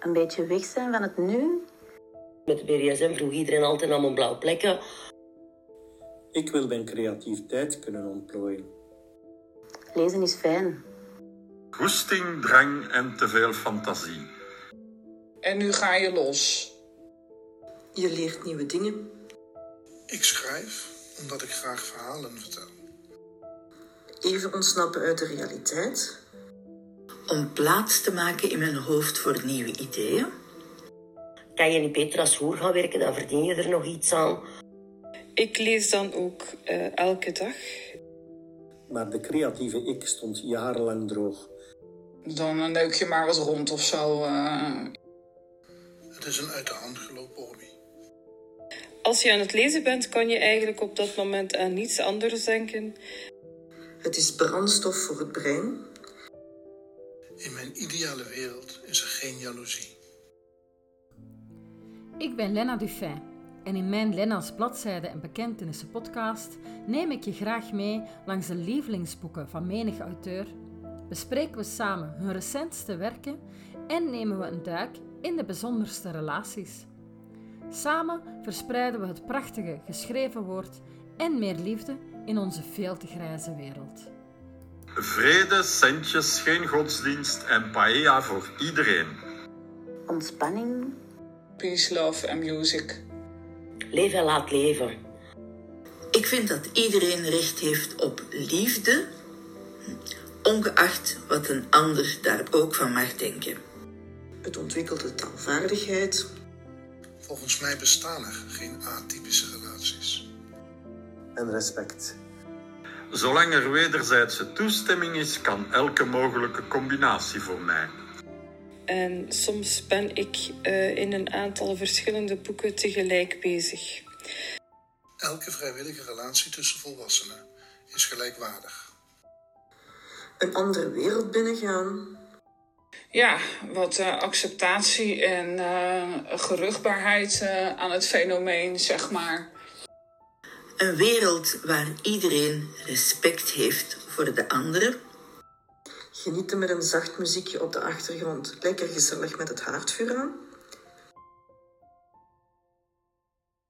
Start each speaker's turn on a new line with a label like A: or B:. A: een beetje weg zijn van het nu.
B: Met de BDSM vroeg iedereen altijd naar mijn blauwe plekken.
C: Ik wil mijn creativiteit kunnen ontplooien.
A: Lezen is fijn.
D: Goesting, drang en te veel fantasie.
E: En nu ga je los.
F: Je leert nieuwe dingen.
G: Ik schrijf omdat ik graag verhalen vertel.
F: Even ontsnappen uit de realiteit. Om plaats te maken in mijn hoofd voor nieuwe ideeën.
B: Kan je niet beter als hoer gaan werken, dan verdien je er nog iets aan.
H: Ik lees dan ook eh, elke dag.
C: Maar de creatieve ik stond jarenlang droog.
E: Dan eh, neuk je maar eens rond of zo. eh.
G: Het is een uit de hand gelopen hobby.
H: Als je aan het lezen bent, kan je eigenlijk op dat moment aan niets anders denken.
F: Het is brandstof voor het brein.
G: In mijn ideale wereld is er geen jaloezie.
I: Ik ben Lena Dufay en in mijn Lena's bladzijden en bekentenissen podcast neem ik je graag mee langs de lievelingsboeken van menig auteur, bespreken we samen hun recentste werken en nemen we een duik in de bijzonderste relaties. Samen verspreiden we het prachtige geschreven woord en meer liefde in onze veel te grijze wereld.
D: Vrede, centjes, geen godsdienst en paella voor iedereen.
A: Ontspanning,
E: peace, love en music.
B: Leef en laat leven.
F: Ik vind dat iedereen recht heeft op liefde, ongeacht wat een ander daar ook van mag denken. Het ontwikkelt de taalvaardigheid.
G: Volgens mij bestaan er geen atypische relaties.
C: En respect.
D: Zolang er wederzijdse toestemming is, kan elke mogelijke combinatie voor mij.
H: En soms ben ik eh, in een aantal verschillende boeken tegelijk bezig.
G: Elke vrijwillige relatie tussen volwassenen is gelijkwaardig.
F: Een andere wereld binnengaan.
E: Ja, wat eh, acceptatie en eh, gerugbaarheid eh, aan het fenomeen, zeg maar.
F: Een wereld waar iedereen respect heeft voor de anderen. Genieten met een zacht muziekje op de achtergrond. Lekker gezellig met het haardvuur aan.